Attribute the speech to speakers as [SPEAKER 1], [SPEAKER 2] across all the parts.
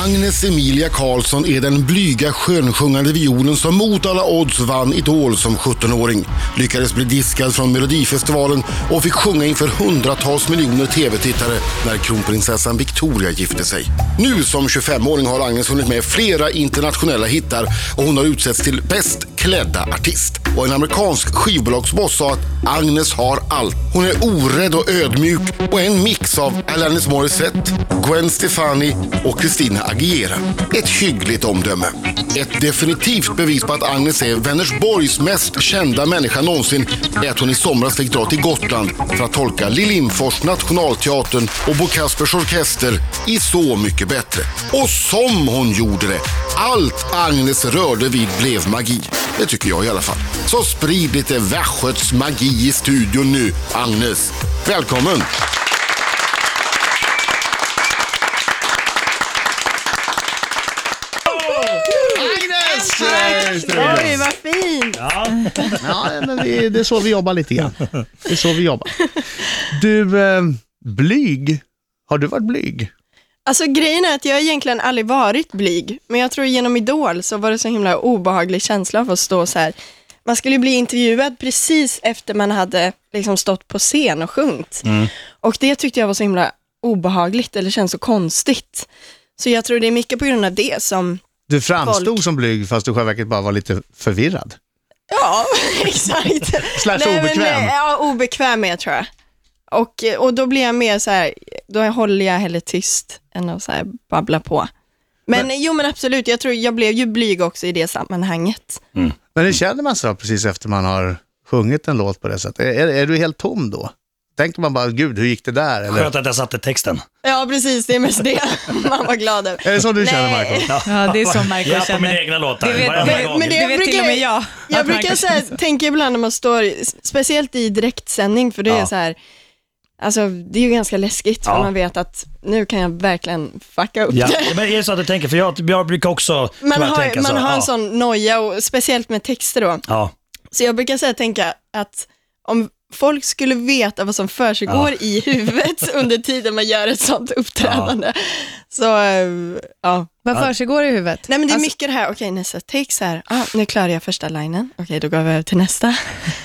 [SPEAKER 1] Agnes Emilia Karlsson är den blyga skönsjungande violen som mot alla odds vann Idol som 17-åring. Lyckades bli diskad från Melodifestivalen och fick sjunga inför hundratals miljoner tv-tittare när kronprinsessan Victoria gifte sig. Nu som 25-åring har Agnes hunnit med flera internationella hittar och hon har utsetts till bäst klädda artist. Och en amerikansk skivbolagsboss sa att Agnes har allt. Hon är orädd och ödmjuk och är en mix av Alanis Morissette, Gwen Stefani och Christina Aguilera. Ett hyggligt omdöme. Ett definitivt bevis på att Agnes är Vänersborgs mest kända människa någonsin är att hon i somras fick dra till Gotland för att tolka Lill Lindfors, Nationalteatern och Bo Kaspers Orkester i Så mycket bättre. Och som hon gjorde det! Allt Agnes rörde vid blev magi. Det tycker jag i alla fall. Så sprid lite Västgöts magi i studion nu, Agnes. Välkommen!
[SPEAKER 2] Agnes!
[SPEAKER 3] Oj, vad fint!
[SPEAKER 2] Ja, men det, det är så vi jobbar lite grann. Det är så vi jobbar. Du, eh, blyg. Har du varit blyg?
[SPEAKER 3] Alltså grejen är att jag egentligen aldrig varit blyg, men jag tror genom Idol så var det så himla obehaglig känsla av att stå så här. Man skulle ju bli intervjuad precis efter man hade liksom stått på scen och sjungit. Och det tyckte jag var så himla obehagligt, eller känns så konstigt. Så jag tror det är mycket på grund av det som,
[SPEAKER 2] Du framstod
[SPEAKER 3] Folk.
[SPEAKER 2] som blyg fast du själva verket bara var lite förvirrad.
[SPEAKER 3] ja, exakt.
[SPEAKER 2] Slash
[SPEAKER 3] Nej, men,
[SPEAKER 2] obekväm.
[SPEAKER 3] eh, ja, obekväm är jag tror jag. Och, eh, och då blir jag mer så här, då håller jag hellre tyst än att så här babbla på. Men, jo men absolut, jag tror jag blev ju blyg också i det sammanhanget.
[SPEAKER 2] Men det känner man så precis efter man har sjungit en låt på det sättet. Är, är du helt tom då? Tänker man bara, gud hur gick det där? Eller,
[SPEAKER 4] Skönt att jag satte texten.
[SPEAKER 3] Ja precis, det är mest det man var glad över.
[SPEAKER 2] är det så du känner
[SPEAKER 3] Nej.
[SPEAKER 2] Marco?
[SPEAKER 5] Ja, det är så Marco
[SPEAKER 4] jag på
[SPEAKER 5] känner.
[SPEAKER 4] mina egna låtar,
[SPEAKER 5] Det vet-
[SPEAKER 4] varenda
[SPEAKER 5] men-
[SPEAKER 4] gång.
[SPEAKER 3] men det-
[SPEAKER 5] Det vet
[SPEAKER 3] brukar-
[SPEAKER 5] till och med jag.
[SPEAKER 3] Jag
[SPEAKER 5] att
[SPEAKER 3] brukar
[SPEAKER 5] Marcus-
[SPEAKER 3] så här, tänka ibland när man står, speciellt i direktsändning, för det är så här, alltså det är ju ganska läskigt, för
[SPEAKER 4] Ja.
[SPEAKER 3] man vet att nu kan jag verkligen fucka upp
[SPEAKER 4] Ja,
[SPEAKER 3] det.
[SPEAKER 4] men är det så att du tänker, för jag, jag brukar också
[SPEAKER 3] Man
[SPEAKER 4] tyvärr tänka
[SPEAKER 3] har, man
[SPEAKER 4] så.
[SPEAKER 3] har
[SPEAKER 4] ja.
[SPEAKER 3] en sån noja, och, speciellt med texter då.
[SPEAKER 4] Ja.
[SPEAKER 3] Så jag brukar säga tänka att om folk skulle veta vad som försiggår i huvudet under tiden man gör ett sånt uppträdande. Så, eh, ja.
[SPEAKER 5] Vad försiggår i huvudet?
[SPEAKER 3] Nej men det är
[SPEAKER 5] Alltså-
[SPEAKER 3] mycket det här, okej nästa take så här, ah, nu klarar jag första linen, okej då går vi över till nästa.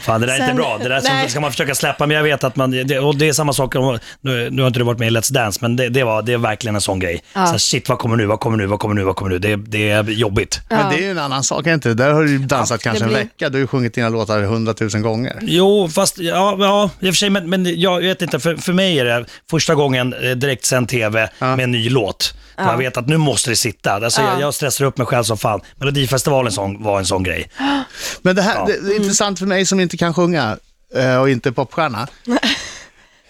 [SPEAKER 4] Fan, det där är
[SPEAKER 3] Sen-
[SPEAKER 4] inte bra. Det där ska,
[SPEAKER 3] nej.
[SPEAKER 4] ska man försöka släppa, men jag vet att man... Det, och det är samma sak, om, nu, nu har inte du varit med i Let's Dance, men det, det, var, det är verkligen en sån grej. Så här, shit, vad kommer nu, vad kommer nu, vad kommer nu, vad kommer nu? Det, det är jobbigt.
[SPEAKER 2] Men det är ju en annan sak, är det inte? Där har du ju dansat kanske en
[SPEAKER 3] blir-
[SPEAKER 2] vecka, du har ju sjungit dina låtar hundratusen gånger.
[SPEAKER 4] Jo, fast ja, ja i och för sig, men, men jag vet inte, för, för mig är det första gången eh, direktsänd tv med en ny låt. Man vet att nu måste det sitta. Alltså, jag, jag stressar upp mig själv som fan. Melodifestivalen sån, var en sån grej.
[SPEAKER 2] Men det här det, det är intressant för mig som inte kan sjunga eh, och inte är popstjärna.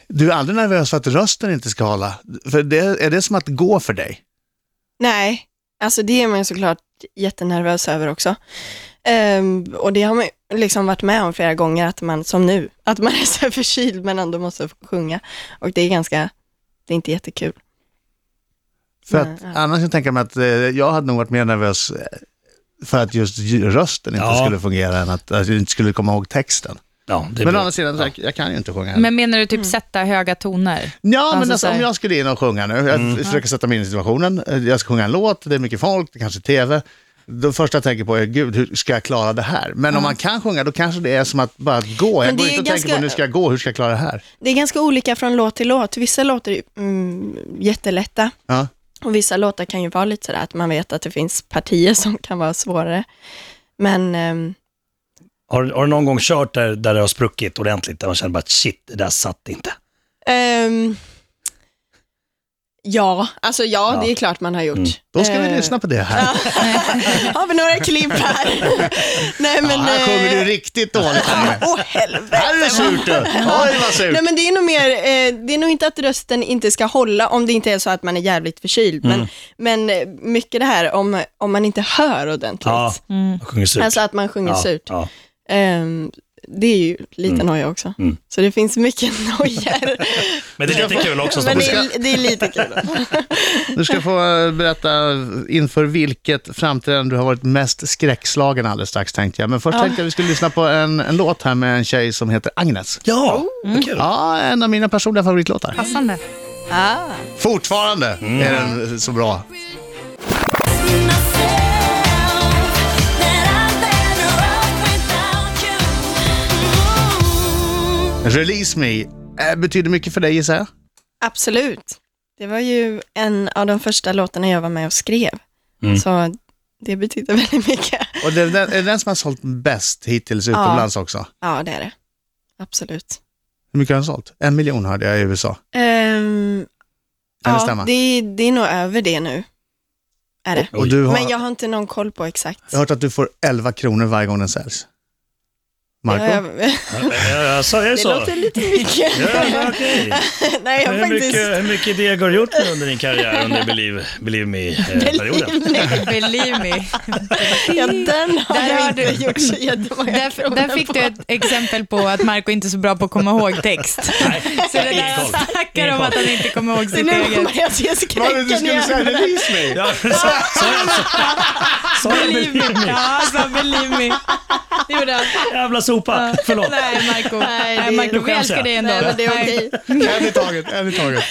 [SPEAKER 2] Du är aldrig nervös för att rösten inte ska hålla? För det, är det som att gå för dig?
[SPEAKER 3] Nej, alltså det är man ju såklart jättenervös över också. Ehm, och det har man ju liksom varit med om flera gånger, att man, som nu, att man är så här förkyld men ändå måste sjunga. Och det är ganska, det är inte jättekul.
[SPEAKER 2] För
[SPEAKER 3] Nej,
[SPEAKER 2] att, annars kan jag tänka mig att eh, jag hade nog varit mer nervös eh, för att just ju- rösten inte
[SPEAKER 4] Ja.
[SPEAKER 2] skulle fungera än att, att jag inte skulle komma ihåg texten.
[SPEAKER 4] Ja, det är
[SPEAKER 2] Men å
[SPEAKER 4] bra.
[SPEAKER 2] andra sidan, så jag, jag kan ju inte sjunga.
[SPEAKER 5] Men menar du typ sätta höga toner?
[SPEAKER 2] Ja, men
[SPEAKER 5] Alltså,
[SPEAKER 2] alltså,
[SPEAKER 5] så här-
[SPEAKER 2] om jag skulle in och sjunga nu, jag
[SPEAKER 3] Mm.
[SPEAKER 2] försöker sätta mig in i situationen, Eh, jag ska sjunga en låt, det är mycket folk, det kanske är tv. Det första jag tänker på är, gud, hur ska jag klara det här? Men om man kan sjunga, då kanske det är som att bara gå.
[SPEAKER 3] Men
[SPEAKER 2] Jag går
[SPEAKER 3] det är
[SPEAKER 2] inte och
[SPEAKER 3] ganska-
[SPEAKER 2] tänker på, nu ska jag gå, hur ska jag klara det här?
[SPEAKER 3] Det är ganska olika från låt till låt. Vissa låtar är ju, mm, jättelätta
[SPEAKER 2] Ja.
[SPEAKER 3] och vissa låtar kan ju vara lite sådär att man vet att det finns partier som kan vara svårare. Men ehm,
[SPEAKER 4] Har, har du någon gång kört där, där det har spruckit ordentligt, där man känner bara shit, det där satt inte?
[SPEAKER 3] ehm, ja, alltså ja, det är klart man har gjort.
[SPEAKER 2] Då ska vi
[SPEAKER 3] Eh,
[SPEAKER 2] lyssna på det här.
[SPEAKER 3] Har vi några klipp här? Nej
[SPEAKER 2] Ja,
[SPEAKER 3] men...
[SPEAKER 2] här sjunger du
[SPEAKER 3] eh,
[SPEAKER 2] riktigt dåligt. Här
[SPEAKER 3] Åh helvete.
[SPEAKER 2] är det surt du! Oj, vad surt!
[SPEAKER 3] Nej men det är nog mer, eh, det är nog inte att rösten inte ska hålla om det inte är så att man är jävligt förkyld.
[SPEAKER 2] Mm.
[SPEAKER 3] Men, men eh, mycket det här om, om man inte hör ordentligt.
[SPEAKER 4] Ja, jag sjunger surt.
[SPEAKER 3] Alltså att man sjunger
[SPEAKER 4] ja,
[SPEAKER 3] surt.
[SPEAKER 4] Ja.
[SPEAKER 3] Ehm, det är ju lite
[SPEAKER 2] Mm.
[SPEAKER 3] noja också. Så det finns mycket nojor.
[SPEAKER 4] Men det är lite kul också.
[SPEAKER 3] men
[SPEAKER 4] Men
[SPEAKER 3] det är, det är lite kul.
[SPEAKER 2] Du ska få eh, berätta inför vilket framträdande du har varit mest skräckslagen alldeles strax tänkte jag. Men först tänkte jag vi skulle lyssna på en, en låt här med en tjej som heter Agnes.
[SPEAKER 4] Ja,
[SPEAKER 3] Oh.
[SPEAKER 4] vad kul.
[SPEAKER 2] Ja, en av mina personliga favoritlåtar.
[SPEAKER 5] Passande.
[SPEAKER 2] Mm. Fortfarande är den så bra.
[SPEAKER 6] myself that I've been wrong without you. Mm.
[SPEAKER 2] Release Me eh, betyder mycket för dig gissar jag.
[SPEAKER 3] Absolut. Det var ju en av de första låtarna jag var med och skrev.
[SPEAKER 2] Mm.
[SPEAKER 3] Så det betyder väldigt mycket.
[SPEAKER 2] Och det är den, är det den som har sålt bäst hittills utomlands också.
[SPEAKER 3] Ja, det är det. Absolut.
[SPEAKER 2] Hur mycket har den sålt? En miljon hörde jag i USA.
[SPEAKER 3] Ehm,
[SPEAKER 2] Kan det
[SPEAKER 3] ja,
[SPEAKER 2] stämma?
[SPEAKER 3] det, det är nog över det nu. Är det.
[SPEAKER 2] Och du har,
[SPEAKER 3] Men jag har inte någon koll på exakt.
[SPEAKER 2] jag har hört att du får 11 kronor varje gång den säljs. Marco?
[SPEAKER 3] Ja, jag-
[SPEAKER 4] Alltså, är det
[SPEAKER 3] det
[SPEAKER 4] så?
[SPEAKER 3] låter lite mycket.
[SPEAKER 4] Ja, men okej.
[SPEAKER 3] Nej, jag har
[SPEAKER 4] Hur
[SPEAKER 3] faktiskt...
[SPEAKER 4] mycket, hur mycket deg har du gjort nu under din karriär under Believe, believe eh, Me-perioden?
[SPEAKER 5] Believe me.
[SPEAKER 3] Ja, den har
[SPEAKER 5] Där
[SPEAKER 3] jag
[SPEAKER 5] har
[SPEAKER 3] inte
[SPEAKER 5] du-
[SPEAKER 3] gjort så jättemånga
[SPEAKER 5] Där,
[SPEAKER 3] kronor
[SPEAKER 5] där fick
[SPEAKER 3] på.
[SPEAKER 5] du ett exempel på att Marco inte är så bra på att komma ihåg text. Så det där han snackar om att han inte kommer ihåg
[SPEAKER 3] Så
[SPEAKER 5] sitt
[SPEAKER 3] nu
[SPEAKER 5] eget.
[SPEAKER 3] kommer jag att se
[SPEAKER 2] Vad var det du skulle
[SPEAKER 3] skräcken
[SPEAKER 2] säga?
[SPEAKER 3] igen.
[SPEAKER 2] Release Me?
[SPEAKER 4] Ja, så, så, så, så,
[SPEAKER 5] Believe me. Ja, han sa believe me. Det gjorde han.
[SPEAKER 4] jävla sopa, förlåt.
[SPEAKER 5] Nej, Marco.
[SPEAKER 3] Nej, det-
[SPEAKER 5] Nej, Marco, vi
[SPEAKER 4] skäms
[SPEAKER 5] älskar
[SPEAKER 4] jag.
[SPEAKER 5] dig ändå.
[SPEAKER 3] Nej, men det är
[SPEAKER 5] Nej.
[SPEAKER 3] okej.
[SPEAKER 2] En i taget, en i taget.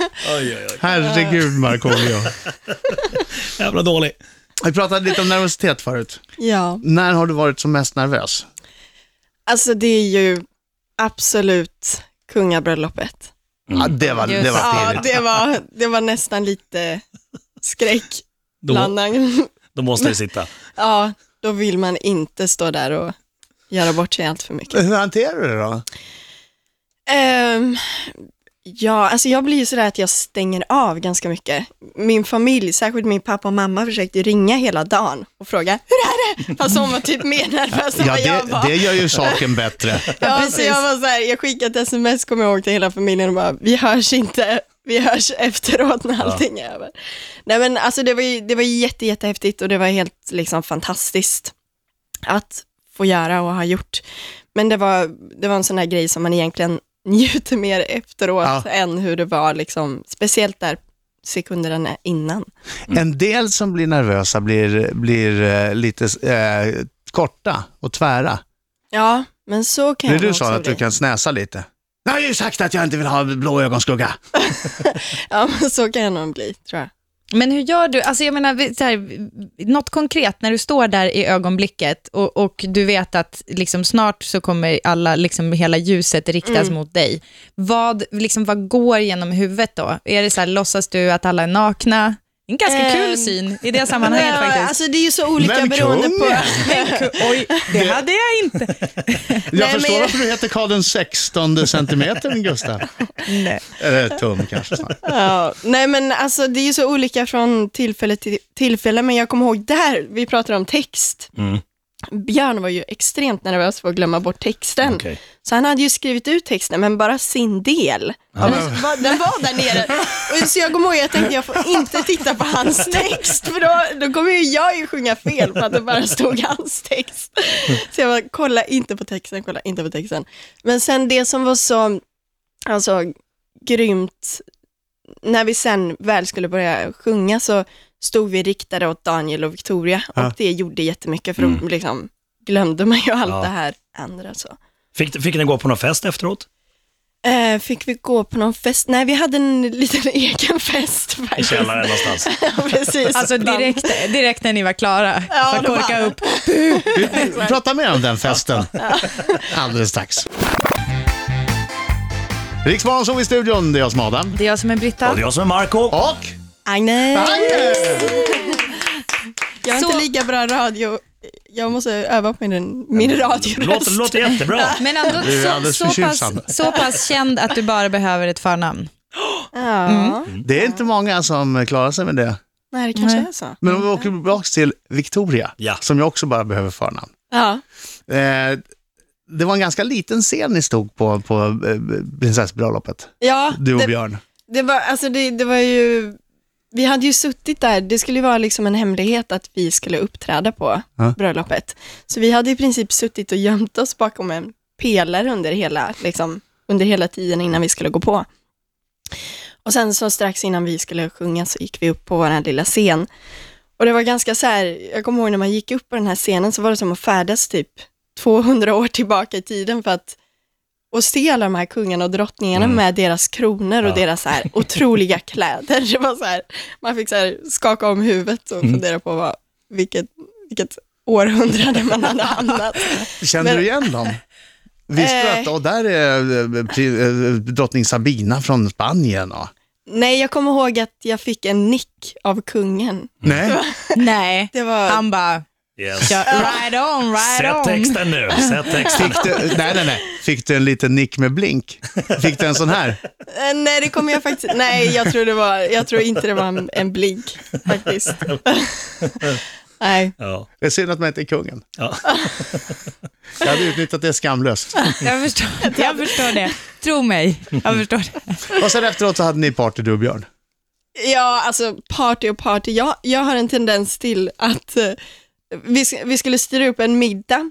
[SPEAKER 4] Oj, oj, oj.
[SPEAKER 2] Herregud Markoolio.
[SPEAKER 4] Jävla dålig.
[SPEAKER 2] Vi pratade lite om nervositet förut.
[SPEAKER 3] Ja,
[SPEAKER 2] När har du varit som mest nervös?
[SPEAKER 3] alltså det är ju absolut kungabröllopet.
[SPEAKER 2] Ja, det var, det
[SPEAKER 5] Just.
[SPEAKER 2] var
[SPEAKER 3] Ja,
[SPEAKER 2] pirrigt.
[SPEAKER 3] det var, det var nästan lite skräck.
[SPEAKER 4] Då,
[SPEAKER 3] Blandan.
[SPEAKER 4] då måste det sitta.
[SPEAKER 3] Ja, då vill man inte stå där och göra bort sig allt för mycket.
[SPEAKER 2] Hur hanterar du det då?
[SPEAKER 3] Ehm, ja, alltså jag blir ju sådär att jag stänger av ganska mycket. Min familj, särskilt min pappa och mamma, försökte ju ringa hela dagen och fråga hur är det? Fast hon var typ mer nervös än
[SPEAKER 2] Ja,
[SPEAKER 3] vad jag
[SPEAKER 2] det,
[SPEAKER 3] var. Mm.
[SPEAKER 2] det gör ju saken bättre.
[SPEAKER 3] Ja, så jag var såhär, jag skickade ett sms kommer jag ihåg till hela familjen och bara, vi hörs inte, vi hörs efteråt när allting är över. Nej men alltså det var ju, det var ju jätte, jättehäftigt och det var helt liksom fantastiskt att få göra och ha gjort. Men det var, det var en sån där grej som man egentligen njuter mer efteråt
[SPEAKER 2] Ja.
[SPEAKER 3] än hur det var liksom, speciellt där sekunderna innan.
[SPEAKER 2] En del som blir nervösa blir, blir eh, lite eh, korta och tvära.
[SPEAKER 3] Ja, men så kan
[SPEAKER 2] Det är
[SPEAKER 3] jag
[SPEAKER 2] du
[SPEAKER 3] nog
[SPEAKER 2] sa
[SPEAKER 3] också
[SPEAKER 2] att du
[SPEAKER 3] bli.
[SPEAKER 2] kan snäsa lite. Jag har ju sagt att jag inte vill ha blå ögonskugga.
[SPEAKER 3] Ja, men så kan jag nog bli, tror jag.
[SPEAKER 5] Men hur gör du? Alltså jag menar, vi- så här, något konkret när du står där i ögonblicket och, och du vet att liksom snart så kommer alla, liksom hela ljuset riktas mot dig. Vad, liksom, vad går genom huvudet då? Är det så här, låtsas du att alla är nakna? Det är en ganska
[SPEAKER 3] Ehm.
[SPEAKER 5] kul syn i det sammanhanget
[SPEAKER 3] Ja,
[SPEAKER 5] faktiskt.
[SPEAKER 3] alltså det är ju så olika
[SPEAKER 2] Men
[SPEAKER 3] beroende
[SPEAKER 2] kungen!
[SPEAKER 3] på...
[SPEAKER 5] alltså, Oj, det hade jag inte.
[SPEAKER 2] Jag
[SPEAKER 3] Nej,
[SPEAKER 2] förstår
[SPEAKER 3] men-
[SPEAKER 2] varför du heter Karl den 16 centimetern, Gustav. Eller tum kanske snart.
[SPEAKER 3] Ja, nej men alltså det är ju så olika från tillfälle till tillfälle, men jag kommer ihåg där, vi pratade om text. Björn var ju extremt nervös för att glömma bort texten.
[SPEAKER 4] Okej.
[SPEAKER 3] Så han hade ju skrivit ut texten, men bara sin del. Den, var, den var där nere. Och så jag kommer ihåg, jag tänkte jag får inte titta på hans text, för då, då kommer ju jag ju sjunga fel för att det bara stod hans text. Så jag bara, kolla inte på texten, kolla inte på texten. Men sen det som var så, alltså grymt när vi sen väl skulle börja sjunga så stod vi riktade åt Daniel och Victoria och det gjorde jättemycket för då liksom glömde man ju allt
[SPEAKER 4] Ja.
[SPEAKER 3] det här andra. Så.
[SPEAKER 4] Fick, fick ni gå på någon fest efteråt?
[SPEAKER 3] Eh, fick vi gå på någon fest? Nej, vi hade en liten egen fest
[SPEAKER 4] I
[SPEAKER 3] faktiskt.
[SPEAKER 4] källaren någonstans?
[SPEAKER 3] ja, precis.
[SPEAKER 5] Alltså
[SPEAKER 3] Bland-
[SPEAKER 5] direkt, direkt när ni var klara, ja,
[SPEAKER 3] då
[SPEAKER 5] korka
[SPEAKER 3] bara-
[SPEAKER 5] upp.
[SPEAKER 2] Vi pratar mer om den festen alldeles strax. Riksmorgon i studion, det är jag som är Adam.
[SPEAKER 5] Det är jag som är
[SPEAKER 4] Och
[SPEAKER 5] Britta.
[SPEAKER 4] det är jag som är Marco.
[SPEAKER 2] Och...
[SPEAKER 3] Agnes! Jag har
[SPEAKER 5] Så-
[SPEAKER 3] inte lika bra radio. Jag måste öva på min, min radioröst.
[SPEAKER 4] Låter, låter jättebra.
[SPEAKER 5] Men ändå
[SPEAKER 2] Du är
[SPEAKER 5] så,
[SPEAKER 2] alldeles
[SPEAKER 5] så,
[SPEAKER 2] förtjusande.
[SPEAKER 5] pass, så pass känd att du bara behöver ett förnamn.
[SPEAKER 3] Ja,
[SPEAKER 2] Det är inte många som klarar sig med det.
[SPEAKER 3] nej, det kanske
[SPEAKER 5] Nej.
[SPEAKER 3] är så.
[SPEAKER 2] Men om vi åker tillbaka till Victoria,
[SPEAKER 4] Ja.
[SPEAKER 2] som jag också bara behöver förnamn.
[SPEAKER 3] Ja,
[SPEAKER 2] Eh, det var en ganska liten scen ni stod på, på eh, prinsessbröllopet,
[SPEAKER 3] ja
[SPEAKER 2] du och
[SPEAKER 3] det-
[SPEAKER 2] Björn.
[SPEAKER 3] Det var, alltså det, det var ju, vi hade ju suttit där, det skulle ju vara liksom en hemlighet att vi skulle uppträda på
[SPEAKER 2] Ja.
[SPEAKER 3] bröllopet. Så vi hade i princip suttit och gömt oss bakom en pelare under hela, liksom, under hela tiden innan vi skulle gå på. Och sen så strax innan vi skulle sjunga så gick vi upp på vår lilla scen. Och det var ganska så här, jag kommer ihåg när man gick upp på den här scenen så var det som att färdas typ 200 år tillbaka i tiden för att och se alla de här kungarna och drottningarna med deras kronor och deras så här otroliga kläder. Det var så här, man fick så här skaka om huvudet och fundera på vad, vilket, vilket århundrade man hade hamnat.
[SPEAKER 2] Kände
[SPEAKER 3] Men-
[SPEAKER 2] du igen dem? Visste du
[SPEAKER 3] Eh.
[SPEAKER 2] att åh, där är eh, pri- eh, drottning Sabina från Spanien? Och...
[SPEAKER 3] Nej, jag kommer ihåg att jag fick en nick av kungen.
[SPEAKER 2] Nej,
[SPEAKER 5] Nej,
[SPEAKER 3] Det var...
[SPEAKER 5] han bara,
[SPEAKER 4] Yes.
[SPEAKER 5] "Ja, right on,
[SPEAKER 4] Sätt
[SPEAKER 5] right on.
[SPEAKER 4] texten nu. Sätt texten.
[SPEAKER 2] fick du, nej, nej, nej. Fick du en liten nick med blink? Fick du en sån här?
[SPEAKER 3] Eh, Nej, det kommer jag faktiskt... Nej, jag tror, det var... jag tror inte det var en, en blink faktiskt. Nej.
[SPEAKER 4] Ja.
[SPEAKER 2] Det är synd att man inte är kungen.
[SPEAKER 4] Ja.
[SPEAKER 2] Jag hade utnyttjat det skamlöst.
[SPEAKER 5] Jag förstår, jag förstår det. Tro mig, jag förstår det.
[SPEAKER 2] Och sen efteråt så hade ni party, du och Björn.
[SPEAKER 3] Ja, alltså party och party. Jag, jag har en tendens till att eh, vi, sk- vi skulle styra upp en middag.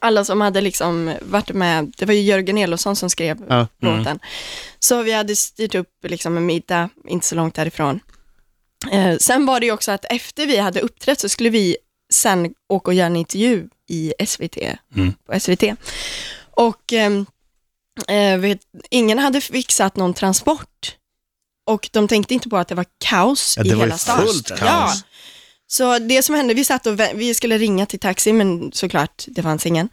[SPEAKER 3] Alla som hade liksom varit med, det var ju Jörgen Elofsson som skrev
[SPEAKER 2] Ja.
[SPEAKER 3] låten. Så vi hade styrt upp liksom en middag, inte så långt därifrån. Eh, sen var det ju också att efter vi hade uppträtt så skulle vi sen åka och göra en intervju i SVT,
[SPEAKER 2] Mm.
[SPEAKER 3] på SVT. Och ehm, eh, vet, ingen hade fixat någon transport. Och de tänkte inte på att det var kaos
[SPEAKER 2] Ja,
[SPEAKER 3] i
[SPEAKER 2] det var ju
[SPEAKER 3] hela stan.
[SPEAKER 2] fullt kaos.
[SPEAKER 3] Ja. Så det som hände, vi satt och vä- vi skulle ringa till taxi, men såklart, det fanns ingen.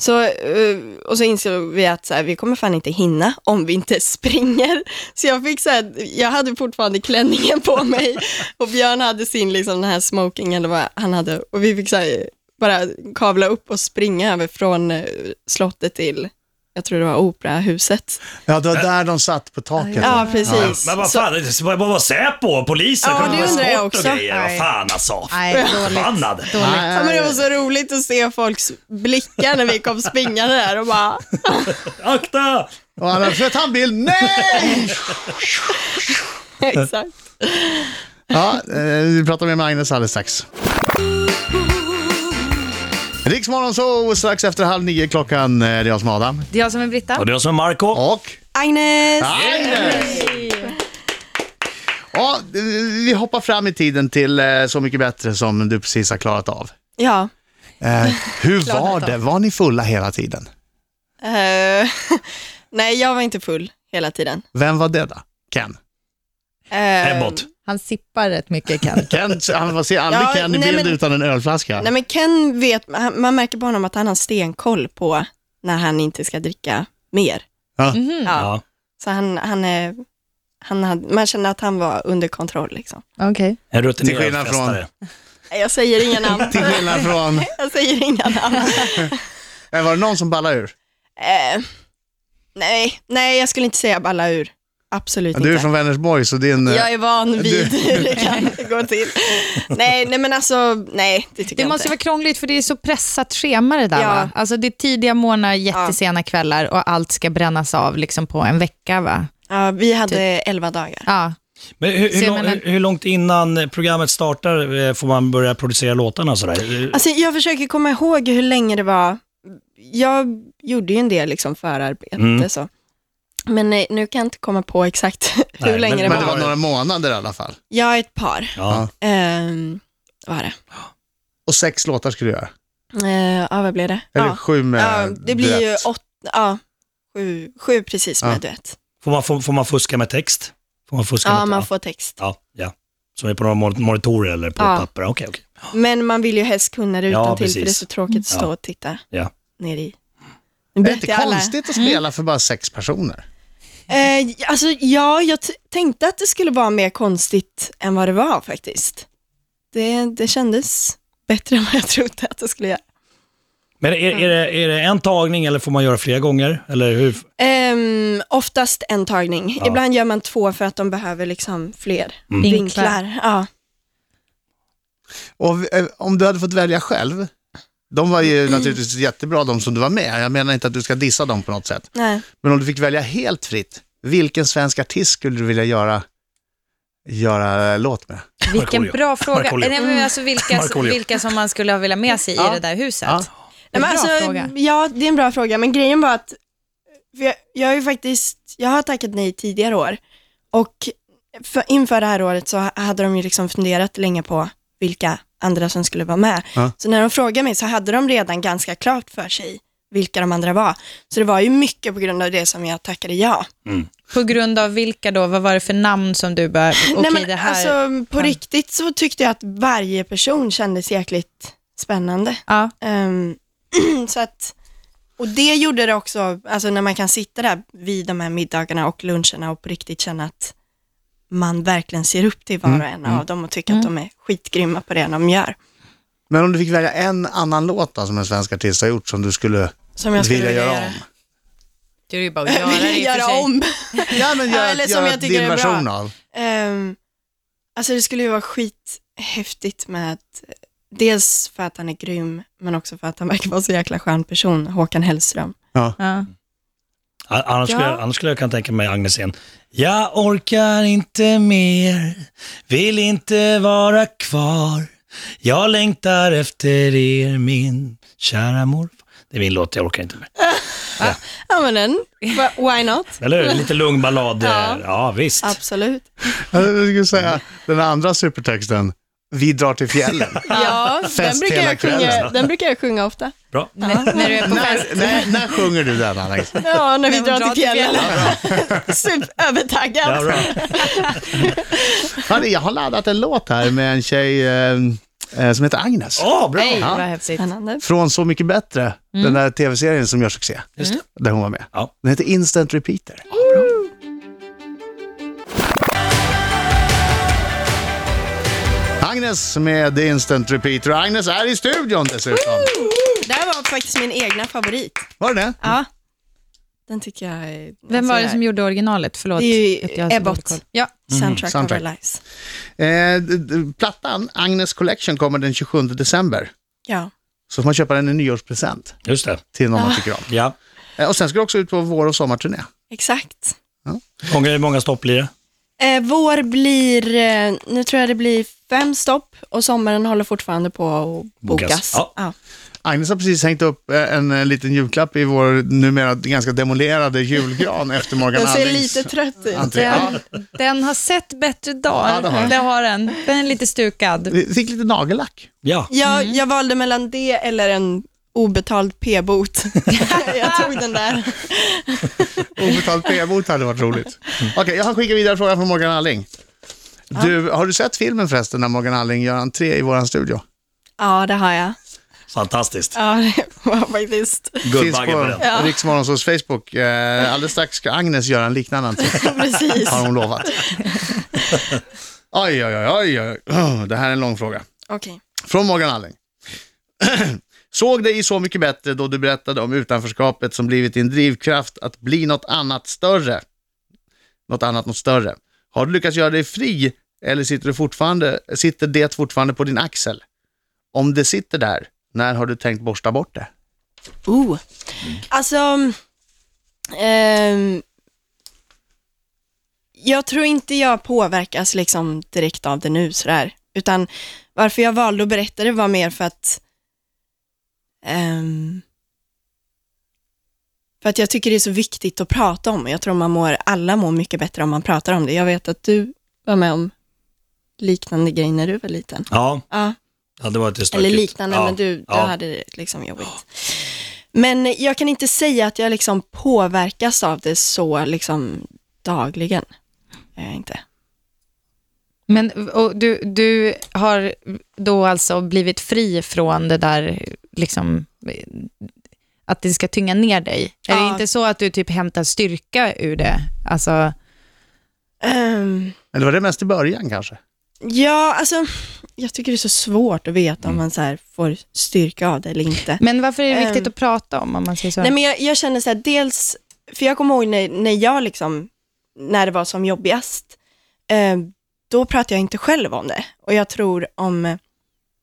[SPEAKER 3] Så, eh, och så insåg vi att så här, vi kommer fan inte hinna om vi inte springer. Så jag fick så här, jag hade fortfarande klänningen på mig och Björn hade sin liksom den här smoking eller vad han hade och vi fick så här, bara kavla upp och springa över från eh, slottet till, jag tror det var operahuset.
[SPEAKER 2] Ja, det var där de satt på taket.
[SPEAKER 3] Ja, precis.
[SPEAKER 4] Men vad
[SPEAKER 3] Så-
[SPEAKER 4] fan, det var bara Säpo och polisen.
[SPEAKER 3] Ja,
[SPEAKER 4] kommer
[SPEAKER 3] det
[SPEAKER 4] med
[SPEAKER 3] undrar jag
[SPEAKER 4] skott och
[SPEAKER 3] också.
[SPEAKER 4] Grejer. Vad fan alltså.
[SPEAKER 5] Nej, dåligt.
[SPEAKER 4] Förbannad.
[SPEAKER 5] dåligt.
[SPEAKER 3] Ja, men det var så roligt att se folks blickar när vi kom springande där och bara,
[SPEAKER 4] Akta!
[SPEAKER 2] Och han hade flöt handbild. Nej!
[SPEAKER 3] exakt.
[SPEAKER 2] Ja, eh, vi pratar med Magnus alldeles strax. Riksmorgon så strax efter halv nio klockan. eh, Det är jag som är Adam.
[SPEAKER 5] Det är jag som är Britta.
[SPEAKER 4] Och det var som Marco.
[SPEAKER 2] Och
[SPEAKER 3] Agnes!
[SPEAKER 2] Agnes! Ja, eh, vi hoppar fram i tiden till eh, Så mycket bättre som du precis har klarat av.
[SPEAKER 3] Ja.
[SPEAKER 2] Eh, Hur
[SPEAKER 5] Klarat
[SPEAKER 2] var
[SPEAKER 5] av.
[SPEAKER 2] det? Var ni fulla hela tiden?
[SPEAKER 3] Eh, nej, jag var inte full hela tiden.
[SPEAKER 2] Vem var det då? Ken?
[SPEAKER 3] Eh,
[SPEAKER 4] Ebbot.
[SPEAKER 5] Han sippar rätt mycket Ken.
[SPEAKER 2] Ken han var- ser aldrig
[SPEAKER 3] Ja,
[SPEAKER 2] Ken i
[SPEAKER 3] nej,
[SPEAKER 2] bild
[SPEAKER 3] men-
[SPEAKER 2] utan en ölflaska.
[SPEAKER 3] Nej, men Ken vet, han- man märker på honom att han har stenkoll på när han inte ska dricka mer.
[SPEAKER 2] Ja.
[SPEAKER 3] Ja,
[SPEAKER 4] Ja.
[SPEAKER 3] Så han, han är, han hade, man känner att han var under kontroll liksom.
[SPEAKER 5] Okej.
[SPEAKER 4] En
[SPEAKER 2] Till skillnad
[SPEAKER 4] rutinerad
[SPEAKER 2] från-
[SPEAKER 4] festare.
[SPEAKER 3] Nej, Jag säger inga namn.
[SPEAKER 2] Till skillnad från,
[SPEAKER 3] Jag säger inga namn.
[SPEAKER 2] Eh, var det någon som ballade ur?
[SPEAKER 3] Eh, nej, nej, jag skulle inte säga balla ur. Absolut
[SPEAKER 2] Du är
[SPEAKER 3] inte.
[SPEAKER 2] från Vänersborg så din... eh,
[SPEAKER 3] Jag är van vid hur det kan gå till. Nej, nej men alltså, nej, det tycker
[SPEAKER 5] Det
[SPEAKER 3] jag
[SPEAKER 5] måste
[SPEAKER 3] inte.
[SPEAKER 5] ju vara krångligt för det är så pressat schema det där
[SPEAKER 3] Ja.
[SPEAKER 5] va? Alltså det är tidiga morgnar, jättesena kvällar och allt ska brännas av liksom på en vecka va?
[SPEAKER 3] Ja, vi hade elva dagar.
[SPEAKER 5] Ja.
[SPEAKER 4] Men hur,
[SPEAKER 5] Så
[SPEAKER 4] hur,
[SPEAKER 5] jag
[SPEAKER 4] lång,
[SPEAKER 5] menar-
[SPEAKER 4] hur- hur långt innan programmet startar eh, får man börja producera låtarna och sådär? Eh,
[SPEAKER 3] Alltså, jag försöker komma ihåg hur länge det var. Jag gjorde ju en del liksom, förarbete
[SPEAKER 4] Mm.
[SPEAKER 3] så. Men eh, nu kan jag inte komma på exakt hur
[SPEAKER 4] Nej,
[SPEAKER 3] länge
[SPEAKER 4] men-
[SPEAKER 3] det
[SPEAKER 2] eh, Men
[SPEAKER 3] var.
[SPEAKER 2] det var
[SPEAKER 4] Ja.
[SPEAKER 2] några månader i alla fall.
[SPEAKER 3] Ja, ett par
[SPEAKER 4] Ja.
[SPEAKER 3] ehm, var det.
[SPEAKER 2] Och sex låtar skulle du göra.
[SPEAKER 3] Eh, ja, vad blev det?
[SPEAKER 2] Eller
[SPEAKER 3] Ja.
[SPEAKER 2] sju med
[SPEAKER 3] ja, det blir ju
[SPEAKER 2] duett.
[SPEAKER 3] åtta, ja, sju, sju precis med
[SPEAKER 2] Ja.
[SPEAKER 3] duett.
[SPEAKER 4] Får, man, får, får man fuska med text? Får man fuska
[SPEAKER 3] Ja,
[SPEAKER 4] med
[SPEAKER 3] man får text.
[SPEAKER 4] Ja, ja. Som är på några mon- monitorer eller på
[SPEAKER 3] Ja.
[SPEAKER 4] papper. Okej, okej.
[SPEAKER 3] Men man vill ju helst kunna det
[SPEAKER 4] Ja,
[SPEAKER 3] utan till för
[SPEAKER 4] precis.
[SPEAKER 3] det är så tråkigt att stå
[SPEAKER 4] Ja.
[SPEAKER 3] och titta
[SPEAKER 4] Ja.
[SPEAKER 3] ner i.
[SPEAKER 2] Mm. Är det inte konstigt att
[SPEAKER 3] Mm.
[SPEAKER 2] spela för bara sex personer?
[SPEAKER 3] Eh, alltså, ja, jag t- tänkte att det skulle vara mer konstigt än vad det var faktiskt. Det, det kändes bättre än vad jag trodde att det skulle göra.
[SPEAKER 4] Men är, är, det, är det en tagning eller får man göra flera gånger? Eller hur?
[SPEAKER 3] Ehm, oftast en tagning.
[SPEAKER 4] Ja.
[SPEAKER 3] Ibland gör man två för att de behöver liksom fler
[SPEAKER 5] Vinklar.
[SPEAKER 3] vinklar. Ja.
[SPEAKER 2] Och eh, om du hade fått välja själv, de var ju naturligtvis jättebra de som du var med. Jag menar inte att du ska dissa dem på något sätt.
[SPEAKER 3] Nej.
[SPEAKER 2] Men om du fick välja helt fritt, vilken svensk artist skulle du vilja göra, göra eh, låt med?
[SPEAKER 5] Vilken
[SPEAKER 4] Markoolio.
[SPEAKER 5] bra fråga.
[SPEAKER 4] Markoolio.
[SPEAKER 5] Nej, men alltså vilka,
[SPEAKER 4] Markoolio.
[SPEAKER 5] vilka som man skulle ha velat med sig
[SPEAKER 2] Ja.
[SPEAKER 5] i det där huset.
[SPEAKER 2] Ja.
[SPEAKER 5] Det är en
[SPEAKER 3] Men
[SPEAKER 5] bra
[SPEAKER 3] alltså,
[SPEAKER 5] fråga.
[SPEAKER 3] Ja, det är en bra fråga, men grejen var att för jag, jag har ju faktiskt, jag har tackat nej tidigare år och för, inför det här året så hade de ju liksom funderat länge på vilka andra som skulle vara med.
[SPEAKER 2] Ja.
[SPEAKER 3] Så när de frågade mig så hade de redan ganska klart för sig vilka de andra var. Så det var ju mycket på grund av det som jag tackade ja.
[SPEAKER 5] På grund av vilka då? Vad var det för namn som du bara, okej
[SPEAKER 3] Nej, men
[SPEAKER 5] det här...
[SPEAKER 3] alltså, på
[SPEAKER 5] Ja.
[SPEAKER 3] riktigt så tyckte jag att varje person kändes jäkligt spännande.
[SPEAKER 5] ja.
[SPEAKER 3] Ehm, så att, och det gjorde det också, alltså när man kan sitta där vid de här middagarna och luncherna och på riktigt känna att man verkligen ser upp till
[SPEAKER 2] Mm,
[SPEAKER 3] var och en av dem och tycker att de är skitgrymma på det de gör.
[SPEAKER 2] Men om du fick välja en annan låt då, som en svensk artist har gjort som du skulle,
[SPEAKER 3] Som jag skulle
[SPEAKER 2] vilja göra
[SPEAKER 3] göra.
[SPEAKER 2] om?
[SPEAKER 5] Det är ju bara att göra det i och för
[SPEAKER 3] göra
[SPEAKER 5] sig.
[SPEAKER 3] om.
[SPEAKER 2] Ja, men
[SPEAKER 3] Ja,
[SPEAKER 2] gör,
[SPEAKER 3] eller som
[SPEAKER 2] gör
[SPEAKER 3] jag tycker
[SPEAKER 2] din
[SPEAKER 3] är bra.
[SPEAKER 2] version av.
[SPEAKER 3] Ehm, alltså det skulle ju vara skithäftigt med att, dels för att han är grym, men också för att han verkar vara så jäkla skön person, Håkan Hellström.
[SPEAKER 5] Ja.
[SPEAKER 4] A- Annars, skulle
[SPEAKER 5] Ja.
[SPEAKER 4] jag, annars skulle jag kunna tänka mig Agnesen. Jag orkar inte mer, vill inte vara kvar. Jag längtar efter er, min kära morfar. Det är min låt, jag orkar inte mer.
[SPEAKER 3] Ja men den, Wh- why not?
[SPEAKER 4] Eller hur? Lite lugn ballad. ja. ja, visst.
[SPEAKER 3] Absolut.
[SPEAKER 2] Jag skulle säga den andra supertexten, Vi drar till fjällen.
[SPEAKER 3] Ja, den
[SPEAKER 2] Fest
[SPEAKER 3] brukar,
[SPEAKER 2] hela
[SPEAKER 3] jag sjunga,
[SPEAKER 2] kvällen.
[SPEAKER 3] den brukar jag sjunga ofta.
[SPEAKER 4] Bra.
[SPEAKER 5] När, när du är på fest.
[SPEAKER 4] Alltså,
[SPEAKER 2] när, när, när sjunger du den, Alex?
[SPEAKER 3] Ja, när vi
[SPEAKER 5] När vi
[SPEAKER 3] drar till fjällen. Superövertaggad.
[SPEAKER 4] Ja, bra.
[SPEAKER 2] Hörni, jag har laddat en låt här med en tjej eh, eh, som heter Agnes.
[SPEAKER 4] Åh, bra.
[SPEAKER 5] Nej,
[SPEAKER 2] Ja.
[SPEAKER 5] vad häftigt.
[SPEAKER 3] Spännande.
[SPEAKER 2] Från Så mycket bättre, den där tv-serien som gör succé,
[SPEAKER 4] Mm. Just det.
[SPEAKER 2] där hon var med.
[SPEAKER 4] Ja.
[SPEAKER 2] Den heter Instant Repeater. Agnes med Instant Repeater. Agnes är i studion dessutom.
[SPEAKER 3] Det här var faktiskt min egna favorit.
[SPEAKER 2] Var det det?
[SPEAKER 3] Ja. Den tycker jag är...
[SPEAKER 5] Vem var det som gjorde originalet? Förlåt.
[SPEAKER 3] Det är ju
[SPEAKER 5] att jag har så
[SPEAKER 3] Ebbot.
[SPEAKER 5] dålig koll. Ja.
[SPEAKER 3] Mhm, Soundtrack,
[SPEAKER 2] soundtrack.
[SPEAKER 3] of our lives.
[SPEAKER 2] Eh, d- d- plattan Agnes Collection kommer den 27 december.
[SPEAKER 3] Ja.
[SPEAKER 2] Så får man köpa den i nyårspresent
[SPEAKER 4] Just det.
[SPEAKER 2] till någon
[SPEAKER 3] Ah.
[SPEAKER 2] man tycker om.
[SPEAKER 4] Ja.
[SPEAKER 2] Eh, och sen ska du också ut på vår och sommarturné.
[SPEAKER 3] Exakt.
[SPEAKER 4] Många, hur många stopp blir det?
[SPEAKER 3] Eh, vår blir, eh, nu tror jag det blir fem stopp och sommaren håller fortfarande på att bokas.
[SPEAKER 4] Bokas. Ja.
[SPEAKER 2] Agnes har precis hängt upp eh, en, eh, liten julklapp i vår numera ganska demolerade julgran efter Morgan
[SPEAKER 3] Den ser
[SPEAKER 2] Allings
[SPEAKER 3] lite trött ut.
[SPEAKER 2] entré. Ja.
[SPEAKER 5] Den, den har sett bättre dagar.
[SPEAKER 2] Ja, det har den.
[SPEAKER 5] den. Den är lite stukad.
[SPEAKER 2] Vi fick lite nagellack.
[SPEAKER 4] Ja.
[SPEAKER 3] Jag, jag valde mellan det eller en obetald p-bot. jag tog den där.
[SPEAKER 2] Obetalt p-bot hade varit roligt. Okej, jag har skickat vidare en fråga från Morgan Alling. Du, har du sett filmen förresten när Morgan Alling gör entré i vår studio?
[SPEAKER 3] Ja, det har jag.
[SPEAKER 4] Fantastiskt.
[SPEAKER 3] Ja, det var faktiskt.
[SPEAKER 2] Finns
[SPEAKER 4] Guldbagge på
[SPEAKER 2] på
[SPEAKER 4] den.
[SPEAKER 2] ja. Riksmorgonsols Facebook. Eh, alldeles strax ska Agnes göra en liknande entré.
[SPEAKER 3] Precis.
[SPEAKER 2] har hon lovat. Oj, oj, oj, oj, oj. Det här är en lång fråga.
[SPEAKER 3] Okej.
[SPEAKER 2] Från Morgan Alling. Såg dig i Så mycket bättre då du berättade om utanförskapet som blivit din drivkraft att bli något annat större. Något annat, något större. Har du lyckats göra dig fri eller sitter, du fortfarande, sitter det fortfarande på din axel? Om det sitter där, när har du tänkt borsta bort det?
[SPEAKER 3] Oh. Alltså, ehm, jag tror inte jag påverkas liksom direkt av det nu sådär. Utan varför jag valde att berätta det var mer för att ehm, för att jag tycker det är så viktigt att prata om. Jag tror man mår, alla mår mycket bättre om man pratar om det. Jag vet att du var med om liknande grejer när du var liten.
[SPEAKER 4] Ja,
[SPEAKER 3] Ja.
[SPEAKER 4] ja, det var lite stökigt.
[SPEAKER 3] Eller liknande,
[SPEAKER 4] ja.
[SPEAKER 3] men du, du
[SPEAKER 4] ja.
[SPEAKER 3] hade det liksom jobbigt. Men jag kan inte säga att jag liksom påverkas av det så liksom dagligen. Jag inte.
[SPEAKER 5] Men och du, du har då alltså blivit fri från det där, liksom, eh, att det ska tynga ner dig. Är det
[SPEAKER 3] Ja.
[SPEAKER 5] inte så att du typ hämtar styrka ur det? Alltså,
[SPEAKER 3] Ehm,
[SPEAKER 2] Eller var det mest i början kanske?
[SPEAKER 3] ja, alltså, jag tycker det är så svårt att veta
[SPEAKER 4] Mm.
[SPEAKER 3] om man så här får styrka av det eller inte.
[SPEAKER 5] men varför är det viktigt
[SPEAKER 3] Ehm.
[SPEAKER 5] att prata om, om man säger så?
[SPEAKER 3] Nej, men jag, jag känner så här, dels, för jag kommer ihåg när, när jag liksom, när det var som jobbigast, eh, då pratade jag inte själv om det. Och jag tror om, eh,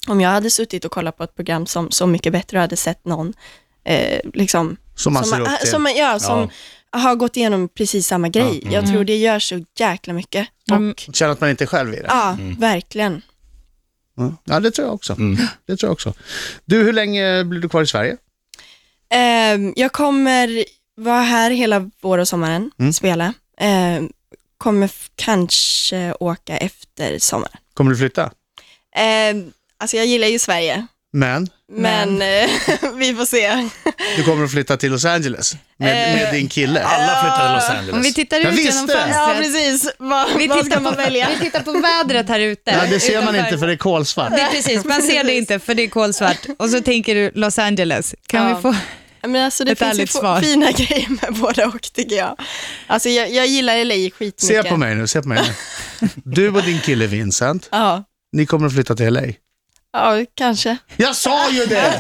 [SPEAKER 3] om jag hade suttit och kollat på ett program som Så mycket bättre och hade sett någon, eh, liksom,
[SPEAKER 2] Som man
[SPEAKER 3] som,
[SPEAKER 2] ser upp till.
[SPEAKER 3] som, ja, som har gått igenom precis samma grej. Jag
[SPEAKER 2] Mm.
[SPEAKER 3] tror det gör så jäkla mycket. Och,
[SPEAKER 5] Mm.
[SPEAKER 2] Känner att man inte är själv i det.
[SPEAKER 3] Ja, verkligen.
[SPEAKER 2] Mm. Ja, det tror jag också. Det tror jag också. Du, hur länge blir du kvar i Sverige?
[SPEAKER 3] Ehm, jag kommer vara här hela vår och sommaren,
[SPEAKER 2] Mm.
[SPEAKER 3] spela. Ehm, kommer f- kanske åka efter sommaren.
[SPEAKER 2] Kommer du flytta?
[SPEAKER 3] Ehm, alltså jag gillar ju Sverige,
[SPEAKER 2] Men
[SPEAKER 3] Men eh, vi får se.
[SPEAKER 2] du kommer att flytta till Los Angeles med, med din kille.
[SPEAKER 4] Alla flyttar till Los
[SPEAKER 5] Om vi
[SPEAKER 4] Angeles.
[SPEAKER 5] tittar ut
[SPEAKER 2] Jag visste.
[SPEAKER 5] genom
[SPEAKER 3] Ja,
[SPEAKER 5] fönstret.
[SPEAKER 3] precis. Vad,
[SPEAKER 5] Vi
[SPEAKER 3] vad ska
[SPEAKER 5] tittar,
[SPEAKER 3] man välja?
[SPEAKER 5] på, vi tittar på vädret här ute.
[SPEAKER 2] Ja, det ser man
[SPEAKER 5] utanför.
[SPEAKER 2] inte för det är kolsvart.
[SPEAKER 5] Det är precis, man ser det inte för det är kolsvart. Och så tänker du Los Angeles. Kan
[SPEAKER 3] Ja.
[SPEAKER 5] vi få...
[SPEAKER 3] Men alltså, det
[SPEAKER 5] Ett
[SPEAKER 3] finns ju
[SPEAKER 5] ärligt
[SPEAKER 3] få-
[SPEAKER 5] svar.
[SPEAKER 3] fina grejer med både och tycker jag. Alltså, jag, jag gillar LA skitmycket.
[SPEAKER 2] Se på mig nu, se på mig nu. Du och din kille Vincent,
[SPEAKER 3] Ja,
[SPEAKER 2] ni kommer att flytta till LA.
[SPEAKER 3] ja kanske.
[SPEAKER 2] Jag sa ju det!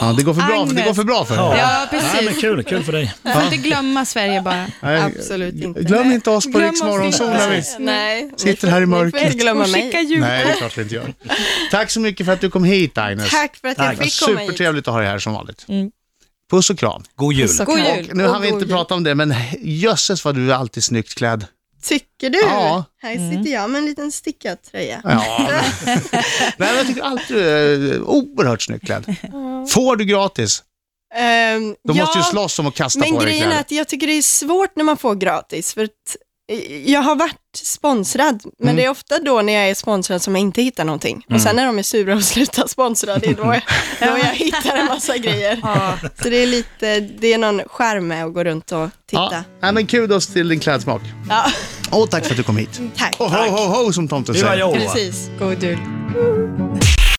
[SPEAKER 2] Ja, det går för bra, det går för bra för er.
[SPEAKER 5] Ja,
[SPEAKER 4] Nej, men
[SPEAKER 5] precis.
[SPEAKER 4] kul, kul för dig.
[SPEAKER 5] Du får inte glömma Sverige bara.
[SPEAKER 2] Nej,
[SPEAKER 3] Absolut inte.
[SPEAKER 2] Eh, Glöm inte oss på
[SPEAKER 5] Glöm
[SPEAKER 2] Riks
[SPEAKER 5] oss
[SPEAKER 2] Morgonzoo
[SPEAKER 5] inte.
[SPEAKER 2] när vi...
[SPEAKER 3] Nej, ni
[SPEAKER 2] Sitter
[SPEAKER 3] får-
[SPEAKER 2] här i
[SPEAKER 3] ni får
[SPEAKER 2] mörkret.
[SPEAKER 3] helt glömma
[SPEAKER 5] Och skicka
[SPEAKER 3] mig.
[SPEAKER 5] jul.
[SPEAKER 2] Nej, det är klart vi inte gör. Tack så mycket för att du kom hit, Agnes.
[SPEAKER 3] Tack för att jag
[SPEAKER 4] Tack.
[SPEAKER 3] fick komma hit.
[SPEAKER 2] Supertrevligt att ha dig här som vanligt. Puss och kram.
[SPEAKER 4] God jul.
[SPEAKER 3] Så
[SPEAKER 5] God
[SPEAKER 3] kan-
[SPEAKER 5] jul.
[SPEAKER 2] Nu
[SPEAKER 3] och
[SPEAKER 2] hann vi
[SPEAKER 3] god
[SPEAKER 2] inte
[SPEAKER 3] jul.
[SPEAKER 2] prata om det, men jösses vad du är alltid snyggt klädd.
[SPEAKER 3] Tycker du?
[SPEAKER 2] Ja. Mm.
[SPEAKER 3] Här sitter jag med en liten stickad tröja.
[SPEAKER 2] Ja. men- Nej, men jag tycker alltid du är oerhört snyggt klädd. Får du gratis,
[SPEAKER 3] Ehm,
[SPEAKER 2] då
[SPEAKER 3] ja,
[SPEAKER 2] måste du slåss om att kasta
[SPEAKER 3] men
[SPEAKER 2] på dig
[SPEAKER 3] grejen är
[SPEAKER 2] kläder.
[SPEAKER 3] att jag tycker det är svårt när man får gratis, för att eh, jag har varit sponsrad, men
[SPEAKER 2] Mm.
[SPEAKER 3] det är ofta då när jag är sponsrad som jag inte hittar någonting. Och sen när de är sura och slutar sponsra, det är då jag, då jag hittar en massa grejer. Så det är lite, det är någon skärm med att gå runt och
[SPEAKER 2] Ja,
[SPEAKER 3] titta.
[SPEAKER 2] nej, men kudos till din klädsmak.
[SPEAKER 3] Ja,
[SPEAKER 2] Och tack för att du kom hit.
[SPEAKER 3] Mm, tack.
[SPEAKER 2] Och ho, ho, ho, som tomten
[SPEAKER 4] Det var
[SPEAKER 2] säger.
[SPEAKER 4] jag.
[SPEAKER 3] Precis.
[SPEAKER 5] God jul.